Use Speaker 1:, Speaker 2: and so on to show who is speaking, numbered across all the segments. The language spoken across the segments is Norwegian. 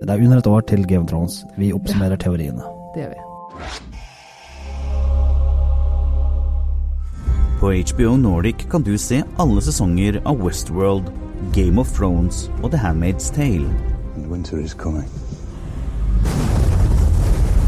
Speaker 1: Det er under et år til Game of Thrones. Vi oppsummerer teoriene.
Speaker 2: Det gjør vi.
Speaker 3: På HBO Nordic kan du se alle sesonger av Westworld, Game of Thrones og The Handmaid's Tale.
Speaker 4: And winter is coming.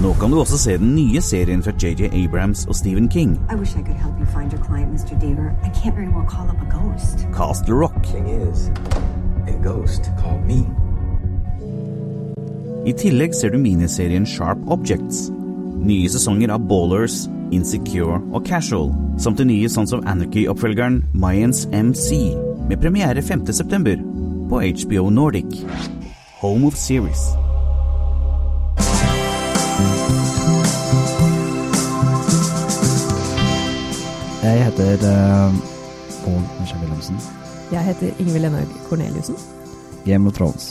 Speaker 3: Nå kan du også se den nye serien fra JJ Abrams og Stephen King,
Speaker 5: I wish I could help you find your client, Mr. Deaver. I can't very well call up a ghost.
Speaker 3: Castle Rock.
Speaker 4: Thing is, a ghost called me.
Speaker 3: I tillegg ser du miniserien Sharp Objects. Nye sesonger av Ballers, Insecure og Casual, samt den nye Sons of Anarchy-oppfølgeren Mayans MC, med premiere 5.9. på HBO Nordic. Home of Series.
Speaker 1: Jeg heter eh, Pål Michel Wilhelmsen.
Speaker 2: Jeg heter Ingvild Enhaug Corneliussen.
Speaker 1: Game of Thrones.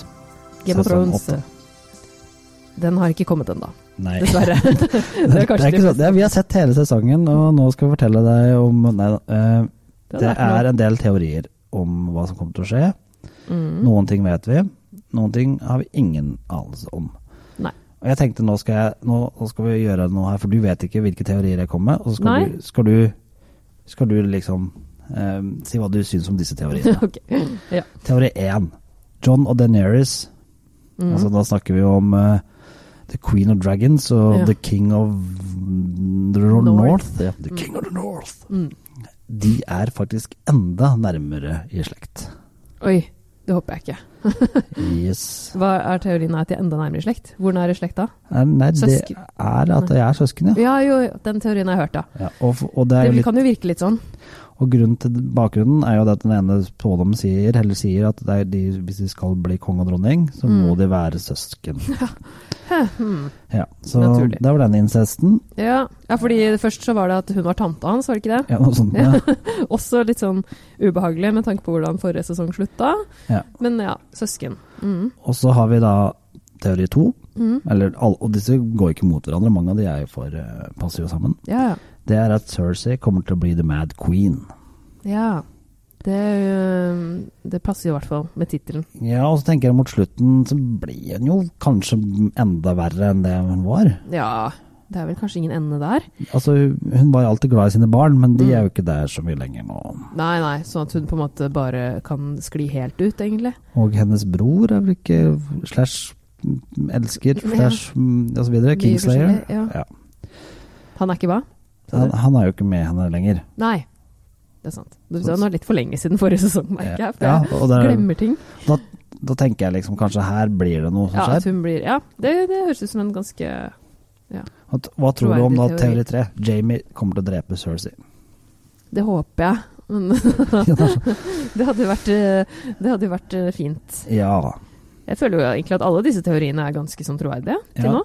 Speaker 2: Game of
Speaker 1: Sesong
Speaker 2: Thrones. eh, Den har ikke kommet ennå,
Speaker 1: Nei.
Speaker 2: dessverre. det er
Speaker 1: Det er
Speaker 2: kanskje
Speaker 1: ikke
Speaker 2: det
Speaker 1: så,
Speaker 2: beste.
Speaker 1: det er, vi har sett hele sesongen, og nå skal vi fortelle deg om Nei da. eh,
Speaker 2: Det
Speaker 1: det
Speaker 2: hadde vært
Speaker 1: er
Speaker 2: noe.
Speaker 1: en del teorier om hva som kommer til å skje.
Speaker 2: Mm.
Speaker 1: Noen ting vet vi, noen ting har vi ingen anelse om.
Speaker 2: Nei.
Speaker 1: Og jeg tenkte nå skal, jeg, nå, nå skal vi gjøre noe her, for du vet ikke hvilke teorier jeg kommer med. Og så
Speaker 2: Nei.
Speaker 1: skal, du, skal, du, skal du liksom eh, si hva du syns om disse teoriene.
Speaker 2: Ok. Ja.
Speaker 1: Teori én. John og Daenerys.
Speaker 2: Mm.
Speaker 1: Altså, da snakker vi om eh, The Queen of Dragons og
Speaker 2: Ja.
Speaker 1: The King of the North.
Speaker 2: North.
Speaker 1: Ja, the King of the North.
Speaker 2: Mm.
Speaker 1: De er faktisk enda nærmere i slekt.
Speaker 2: Oi, det håper jeg ikke.
Speaker 1: Yes.
Speaker 2: Hva er teorien er at de er enda nærmere i slekt? Hvor nær i slekt da?
Speaker 1: Nei, Nei, det
Speaker 2: Søsken.
Speaker 1: er at de er søsken, ja.
Speaker 2: Ja, jo, jo, den teorien har jeg hørt, ja.
Speaker 1: ja og, f- og, det er
Speaker 2: Det
Speaker 1: jo litt,
Speaker 2: kan jo virke litt sånn.
Speaker 1: og grunnen til bakgrunnen er jo det at den ene spådommen sier, heller sier at det er de, hvis de skal bli konge og dronning, så
Speaker 2: Mm.
Speaker 1: må de være søsken. Ja, så
Speaker 2: hmm. Naturlig.
Speaker 1: det var den incesten.
Speaker 2: Ja. ja, fordi først så var det at hun var tanta hans, var det ikke det?
Speaker 1: Ja, noe sånt, ja.
Speaker 2: Også litt sånn ubehagelig med tanke på hvordan forrige sesong slutta.
Speaker 1: Ja.
Speaker 2: Men ja, søsken. Mm.
Speaker 1: Og så har vi da teori to. Eller, all- og disse går ikke mot hverandre, mange av de er jo for eh, passer jo sammen.
Speaker 2: Ja, ja.
Speaker 1: Det er at Cersei kommer til å bli The Mad Queen.
Speaker 2: ja. Det, øhm, det passer jo i hvert fall med tittelen.
Speaker 1: Ja, og så tenker jeg mot slutten så blir hun jo kanskje enda verre enn det hun var.
Speaker 2: Ja, det er vel kanskje ingen ende der.
Speaker 1: Altså, hun var alltid glad i sine barn, men de er
Speaker 2: Mm.
Speaker 1: jo ikke der så mye lenger nå.
Speaker 2: Nei, nei, sånn at hun på en måte bare kan skli helt ut, egentlig.
Speaker 1: Og hennes bror er vel ikke slash elsker,
Speaker 2: Ja.
Speaker 1: slash mm, og så videre,
Speaker 2: Mye
Speaker 1: Kingslayer.
Speaker 2: forskjellig, ja.
Speaker 1: Ja.
Speaker 2: Han er ikke hva?
Speaker 1: Han, han er jo ikke med henne lenger.
Speaker 2: Nei. Det er sant. Du sa det var litt for lenge siden forrige sesong, merker jeg. For
Speaker 1: Ja,
Speaker 2: Oh jeg
Speaker 1: og det er-
Speaker 2: glemmer ting.
Speaker 1: Da, da tenker jeg liksom kanskje her blir det noe som
Speaker 2: Ja,
Speaker 1: skjer.
Speaker 2: at hun blir Ja, det, det høres ut som en ganske
Speaker 1: Hva, hva tror du om da
Speaker 2: Troverdig
Speaker 1: teori
Speaker 2: teori.
Speaker 1: tre? Jamie kommer til å drepe Cersei.
Speaker 2: Det håper jeg, men det hadde jo vært, eh, det hadde jo vært eh, fint.
Speaker 1: Ja.
Speaker 2: Jeg føler jo egentlig at alle disse teoriene er ganske sånn troverdige til
Speaker 1: Ja.
Speaker 2: nå.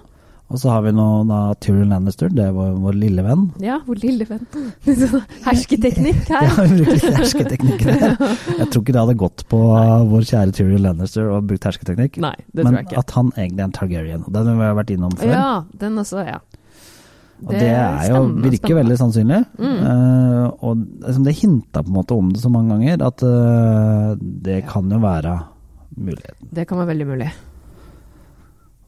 Speaker 1: Og så har vi nå da Tyrion Lannister, det er vår, vår lille venn.
Speaker 2: Ja, hvor lille venn. Hersketeknikk
Speaker 1: Ja,
Speaker 2: her.
Speaker 1: vi bruker litt hersketeknikk der. Jeg tror ikke det hadde gått på uh, vår kjære Tyrion Lannister og brukt hersketeknikk.
Speaker 2: Nei, det
Speaker 1: Men
Speaker 2: tror jeg ikke.
Speaker 1: at han egentlig er en Targaryen. Og den har vi vært innom før.
Speaker 2: Ja, den også, ja.
Speaker 1: og det er jo, virker veldig sannsynlig.
Speaker 2: Mm.
Speaker 1: Eh, og liksom, det hinta på en måte om det så mange ganger at eh, det kan jo være muligheten.
Speaker 2: Det kan være veldig mulig.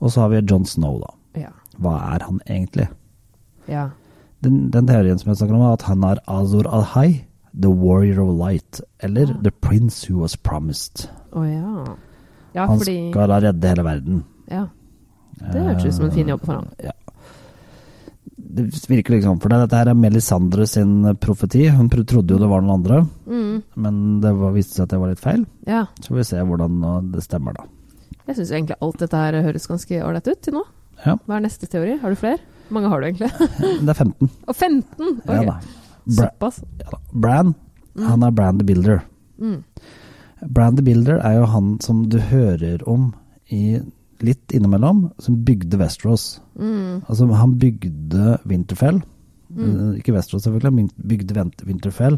Speaker 1: Og så har vi John Snow, da.
Speaker 2: Ja.
Speaker 1: Hva er han egentlig?
Speaker 2: ja.
Speaker 1: Den, den teorien som jeg snakker om, er at han er Azor al-Hai, The Warrior of Light, eller The Prince Who Was Promised.
Speaker 2: Å ja. Ja,
Speaker 1: Han
Speaker 2: fordi
Speaker 1: skal da redde hele verden. Eh,
Speaker 2: Ja. Det hørtes ut som en fin jobb for ham.
Speaker 1: Det virker liksom for det. Dette her er Melisandre sin eh, profeti. Hun pr- trodde jo det var noen andre,
Speaker 2: Mm.
Speaker 1: men det var, viste seg at det var litt feil.
Speaker 2: Ja.
Speaker 1: Så får vi se hvordan uh, det stemmer, da.
Speaker 2: Jeg syns egentlig alt dette her høres ganske ålreit ut til nå.
Speaker 1: Ja,
Speaker 2: Hva er neste teori? Har du flere? Hvor mange har du egentlig?
Speaker 1: det er 15.
Speaker 2: Og 15! Ok,
Speaker 1: Ja, da. Bra,
Speaker 2: Såpass.
Speaker 1: ja, da. Bran, han er Bran the Builder.
Speaker 2: Mm.
Speaker 1: Bran the Builder er jo han som du hører om i, litt innimellom, som bygde Westeros.
Speaker 2: Mm.
Speaker 1: Altså, han bygde Winterfell. Eh, Ikke Westerås selvfølgelig, men bygde Vent- Winterfell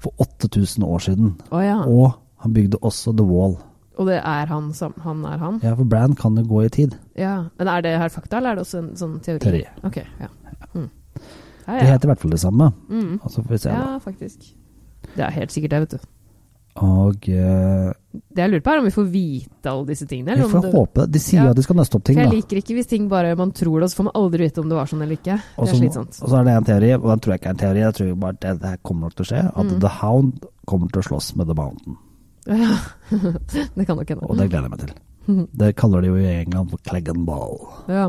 Speaker 1: for 8000 år siden.
Speaker 2: Å Mm. ja.
Speaker 1: Og han bygde også The Wall.
Speaker 2: Og det er han som Han er han?
Speaker 1: Ja, for Bran kan jo gå i tid.
Speaker 2: Ja. Men er det her fakta, eller er det også en sånn teori?
Speaker 1: Teori.
Speaker 2: Ok, ja. Mm. Ja,
Speaker 1: Det
Speaker 2: ja.
Speaker 1: heter i hvert fall det samme. Altså,
Speaker 2: Mm.
Speaker 1: Og så får vi se, da.
Speaker 2: ja, faktisk. Det er helt sikkert det, vet du.
Speaker 1: Og eh,
Speaker 2: Det jeg lurer på, er om vi får vite alle disse tingene.
Speaker 1: jeg
Speaker 2: Eller om
Speaker 1: får
Speaker 2: det,
Speaker 1: håpe det. De sier jo
Speaker 2: Ja.
Speaker 1: at de skal nøste opp ting,
Speaker 2: for jeg
Speaker 1: da.
Speaker 2: liker ikke hvis ting bare man tror det, og så får man aldri vite om det var sånn eller ikke.
Speaker 1: Og så,
Speaker 2: Det er
Speaker 1: og
Speaker 2: slitsomt.
Speaker 1: så er det en teori, og den tror jeg ikke er en teori, jeg tror jo bare at det, det her kommer nok til å skje, at
Speaker 2: Mm.
Speaker 1: The Hound kommer til å slåss med The Mountain.
Speaker 2: Ja. det kan nok hende.
Speaker 1: Og det gleder jeg meg til.
Speaker 2: Mm.
Speaker 1: Det kaller de jo i England for clag and ball.
Speaker 2: Ja.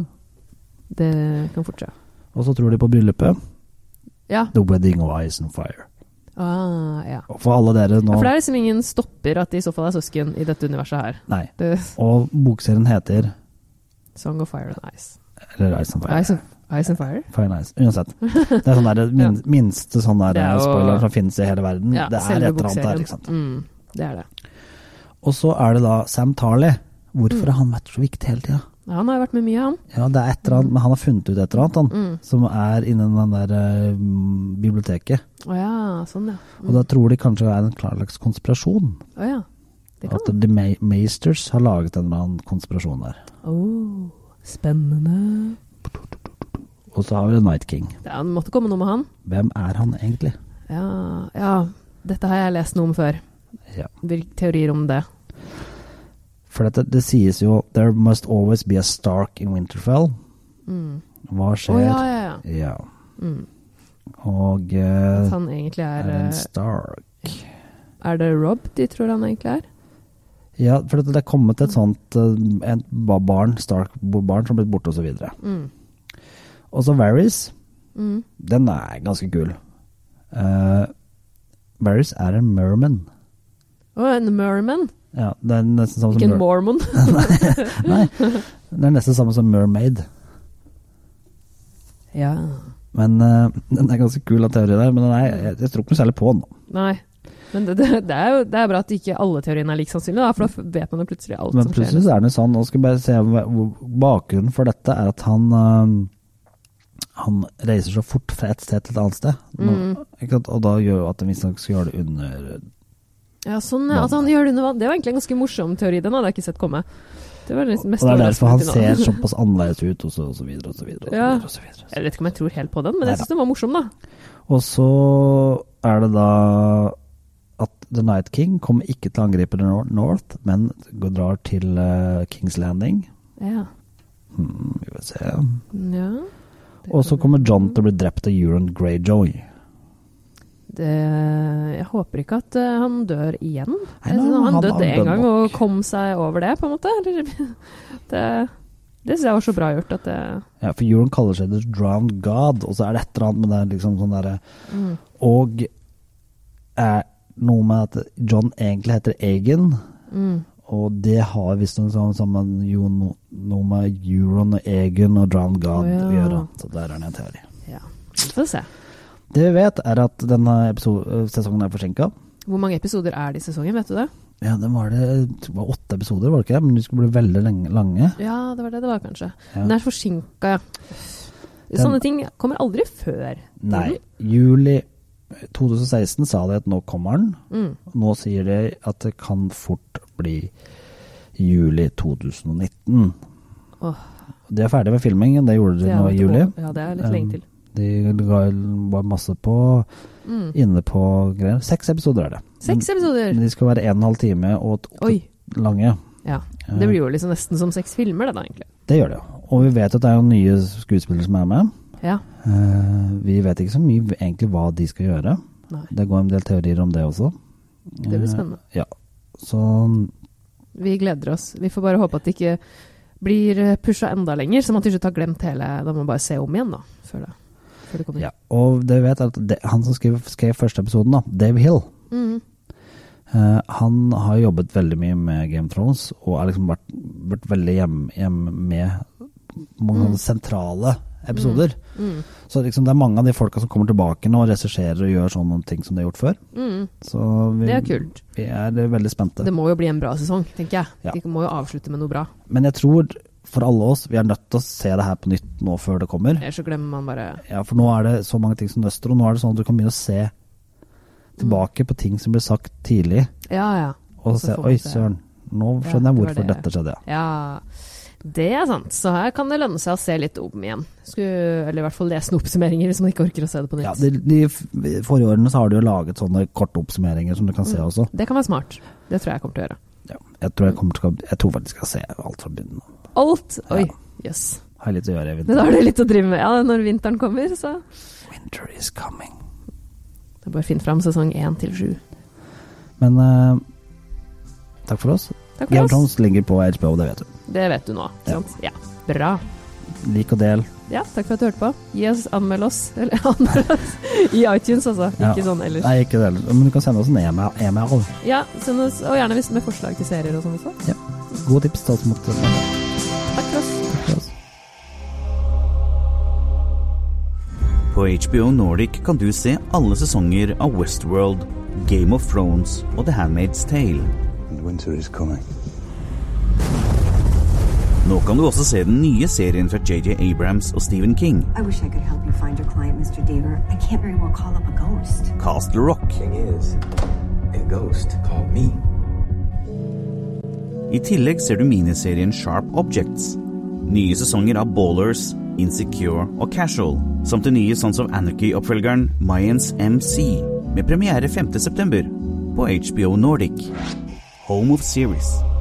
Speaker 2: Det kan fort skje.
Speaker 1: Og så tror de på bryllupet.
Speaker 2: Ja.
Speaker 1: The Wedding of Ice and Fire.
Speaker 2: Ah, ja.
Speaker 1: Og for alle dere
Speaker 2: Ja,
Speaker 1: nå
Speaker 2: For det er liksom ingen stopper at de i så fall er søsken i dette universet her.
Speaker 1: Nei.
Speaker 2: Det,
Speaker 1: Og bokserien heter
Speaker 2: Song of Fire and Ice.
Speaker 1: Eller Ice and Fire.
Speaker 2: Ice and, Ice and Fire?
Speaker 1: Fire and Ice. Uansett. Det er sånn der, min, minste sånn der
Speaker 2: Det er jo-
Speaker 1: spoiler som finnes i hele verden.
Speaker 2: Ja,
Speaker 1: Mm, det er et
Speaker 2: selve
Speaker 1: eller annet der,
Speaker 2: bokserien.
Speaker 1: ikke sant.
Speaker 2: Mm, det er det.
Speaker 1: Og så er det da Sam Tarley.
Speaker 2: Mm.
Speaker 1: Hvorfor har han vært så viktig hele tida?
Speaker 2: Ja, han har jo vært med mye, han.
Speaker 1: Ja, det er et
Speaker 2: Mm.
Speaker 1: eller annet, men han har funnet ut et eller annet, han. Som er innen den der eh, mm, biblioteket.
Speaker 2: Å ja, sånn ja.
Speaker 1: Og da tror de kanskje det er en klar slags konspirasjon.
Speaker 2: Å ja. Det kan
Speaker 1: At The Ma Maesters har laget en eller annen konspirasjon der.
Speaker 2: oh, Spennende.
Speaker 1: Og så har vi The Night King.
Speaker 2: Det han måtte komme noe med han.
Speaker 1: Hvem er han egentlig?
Speaker 2: Ja, ja, dette har jeg lest noe om før.
Speaker 1: Ja.
Speaker 2: Vir- Teorier om det.
Speaker 1: For dette, det sies jo There must always be a Stark in Winterfell. Hva
Speaker 2: Mm. Å
Speaker 1: skjer?
Speaker 2: ja, ja, ja.
Speaker 1: Ja. Og eh,
Speaker 2: At han egentlig er
Speaker 1: er en
Speaker 2: Sånn eh,
Speaker 1: Stark
Speaker 2: Er det Rob de tror han egentlig er?
Speaker 1: Ja, for det, det er kommet et sånt eh, en ba- barn, Stark-barn, som er blitt borte, og så videre.
Speaker 2: Mm.
Speaker 1: Og så Varys.
Speaker 2: Mm.
Speaker 1: Den er ganske kul. Eh, Varys er en merman.
Speaker 2: Å, en Merman.
Speaker 1: Ja, det er nesten samme
Speaker 2: Ikke
Speaker 1: som
Speaker 2: en
Speaker 1: mer
Speaker 2: Mormon.
Speaker 1: Nei, det er nesten samme som mermaid.
Speaker 2: ja.
Speaker 1: Men eh, den er ganske kul, den teorien der. Men den er, jeg, jeg tror ikke noe særlig på den.
Speaker 2: Nei. Men det, det, det er jo det er bra at ikke alle teoriene er like sannsynlige, da, for da vet man jo plutselig alt
Speaker 1: Men
Speaker 2: som
Speaker 1: plutselig så er den jo sånn, nå skal jeg bare se hva- hvor- bakgrunnen for dette er at han øhm, han reiser så fort fra et sted til et annet sted.
Speaker 2: Mm.
Speaker 1: Nå, ikke sant? Og da gjør jo at de visstnok skal gjøre det under
Speaker 2: skjer. Ja, sånn, ja. Altså, han gjør det under vann. Det var egentlig en ganske morsom teori, den hadde jeg ikke sett komme. Det var liksom
Speaker 1: Og
Speaker 2: mest
Speaker 1: det er derfor han
Speaker 2: overraskende
Speaker 1: ser
Speaker 2: til nå.
Speaker 1: såpass annerledes ut, og så, og så videre, og så videre. Og så,
Speaker 2: Ja.
Speaker 1: videre, og så, videre.
Speaker 2: Jeg vet ikke om jeg tror helt på den, men
Speaker 1: Neida.
Speaker 2: jeg syns den var morsom, da.
Speaker 1: og så er det da at The Night King kommer ikke til å angripe The Nor- North, men går- drar til eh, Kings Landing.
Speaker 2: Ja.
Speaker 1: Hmm, vi får se.
Speaker 2: ja.
Speaker 1: Og så kommer John til å bli drept av Euron Greyjoy.
Speaker 2: Det, jeg håper ikke at eh, han dør igjen.
Speaker 1: Nei,
Speaker 2: Jeg
Speaker 1: nei,
Speaker 2: synes han,
Speaker 1: han- han
Speaker 2: døde
Speaker 1: døde
Speaker 2: en gang
Speaker 1: nok.
Speaker 2: og kom seg over det, på en måte. Eller, det det syns jeg var så bra gjort at det
Speaker 1: Ja, for Euron kaller seg The Drowned God, og så er det et eller annet med det liksom sånn derre
Speaker 2: mm,
Speaker 1: Og er noe med at John egentlig heter Egan,
Speaker 2: mm.
Speaker 1: og det har visstnok sånn sammen jo no, noe med Euron og Egan og Drowned God
Speaker 2: Å, ja.
Speaker 1: å gjøre. Så der er det en teori.
Speaker 2: Ja. Vi får se.
Speaker 1: Det vi vet, er at denne episo- sesongen er forsinka.
Speaker 2: Hvor mange episoder er det i sesongen, vet du det?
Speaker 1: Ja, den var det, det var åtte episoder, var det ikke? Men de skulle bli veldig lenge, lange.
Speaker 2: Ja, det var det det var, kanskje.
Speaker 1: Ja.
Speaker 2: Den er forsinka, ja. Sånne ting kommer aldri før.
Speaker 1: Nei. Mhm. Juli 2016 sa de at nå kommer den.
Speaker 2: Mm.
Speaker 1: Nå sier de at det kan fort bli juli 2019.
Speaker 2: Åh.
Speaker 1: De er ferdig med filmingen, det gjorde de
Speaker 2: Det er
Speaker 1: nå i
Speaker 2: litt
Speaker 1: juli. Um,
Speaker 2: over- Ja, det er litt lenge til.
Speaker 1: De ga var masse på inne på greier. Seks episoder er det.
Speaker 2: Mm. Seks episoder!
Speaker 1: Men de skal være en og en halv time og t-
Speaker 2: Oi.
Speaker 1: lange.
Speaker 2: Ja. Det blir jo liksom nesten som seks filmer, det da, egentlig.
Speaker 1: Det gjør det jo. Og vi vet at det er jo nye skuespillere som er med.
Speaker 2: Ja.
Speaker 1: Eh, vi vet ikke så mye egentlig hva de skal gjøre.
Speaker 2: Nei.
Speaker 1: Det går en del teorier om det også.
Speaker 2: Det blir spennende.
Speaker 1: Eh, ja. Så
Speaker 2: Vi gleder oss. Vi får bare håpe at det ikke blir pusha enda lenger, sånn så man til slutt har glemt hele Da må man bare se om igjen, da. Før det, før det kommer.
Speaker 1: ja. Og det vi vet er at det, han som skrev, skrev første episoden, da, Dave Hill,
Speaker 2: Mm.
Speaker 1: eh, han har jobbet veldig mye med Game of Thrones og har liksom vært, vært veldig hjemme hjem med mange sånne sentrale episoder.
Speaker 2: Mm.
Speaker 1: Så liksom det er mange av de folka som kommer tilbake nå og regisserer og gjør sånne ting som de har gjort før.
Speaker 2: Mm.
Speaker 1: Så vi,
Speaker 2: Det er kult.
Speaker 1: vi er eh, veldig spente.
Speaker 2: Det må jo bli en bra sesong, tenker jeg.
Speaker 1: Ja.
Speaker 2: De må jo avslutte med noe bra.
Speaker 1: Men jeg tror for alle oss, vi er nødt til å se det her på nytt nå før det kommer.
Speaker 2: Ellers så glemmer man bare
Speaker 1: Ja, for nå er det så mange ting som nøster, og nå er det sånn at du kan begynne å se tilbake på ting som ble sagt tidlig,
Speaker 2: Ja, ja.
Speaker 1: og
Speaker 2: Mm. Så
Speaker 1: se
Speaker 2: får man
Speaker 1: Oi,
Speaker 2: se.
Speaker 1: søren, nå
Speaker 2: Ja,
Speaker 1: skjønner jeg
Speaker 2: det var
Speaker 1: hvorfor
Speaker 2: det.
Speaker 1: dette skjedde, ja.
Speaker 2: Ja. Det er sant. Så her kan det lønne seg å se litt om igjen. Skulle, eller i hvert fall lese noen oppsummeringer hvis man ikke orker å se det på nytt.
Speaker 1: Ja, de, de f- forrige årene så har de jo laget sånne korte oppsummeringer som du kan se også.
Speaker 2: Det kan være smart. Det tror jeg jeg kommer til å gjøre.
Speaker 1: Ja, jeg, tror jeg, kommer til, å- jeg tror faktisk jeg skal se alt fra begynnelsen av.
Speaker 2: Alt! Oi,
Speaker 1: Ja.
Speaker 2: jøss.
Speaker 1: Har litt å gjøre i
Speaker 2: Da
Speaker 1: vinter.
Speaker 2: har du litt å drive med. Ja, når vinteren kommer, så
Speaker 1: Winter is coming.
Speaker 2: Det er bare å finne fram sesong én til sju.
Speaker 1: Men eh, takk for oss.
Speaker 2: Takk
Speaker 1: Game of
Speaker 2: for oss.
Speaker 1: Thrones ligger på HBO, det vet du.
Speaker 2: Det vet du nå. ikke
Speaker 1: Ja.
Speaker 2: Sant? Ja. Bra.
Speaker 1: Lik og del.
Speaker 2: Ja, takk for at du hørte på. Gi oss, anmeld oss. Eller anmeld oss i iTunes, altså.
Speaker 1: Ja.
Speaker 2: Ikke sånn ellers.
Speaker 1: Nei, ikke det heller. Men du kan sende oss en e-mail. e-mail.
Speaker 2: Ja, send oss, og gjerne hvis med forslag til serier og sånn også.
Speaker 1: Gode tips til oss mot Takk
Speaker 2: Takk for oss.
Speaker 1: for oss.
Speaker 3: På HBO Nordic kan du se alle sesonger av Westworld, Game of Thrones og The Handmaid's Tale.
Speaker 4: And winter is coming.
Speaker 3: Nå kan du også se den nye serien fra JJ Abrams og Stephen King,
Speaker 5: I wish I could help you find your client, Mr. Deaver. I can't very well call up a ghost.
Speaker 3: Castle Rock.
Speaker 4: Thing is, a ghost called me.
Speaker 3: I tillegg ser du miniserien Sharp Objects. Nye sesonger av Ballers, Insecure og Casual, samt den nye Sons of Anarchy-oppfølgeren Mayans MC, med premiere 5.9. på HBO Nordic. Home of Series.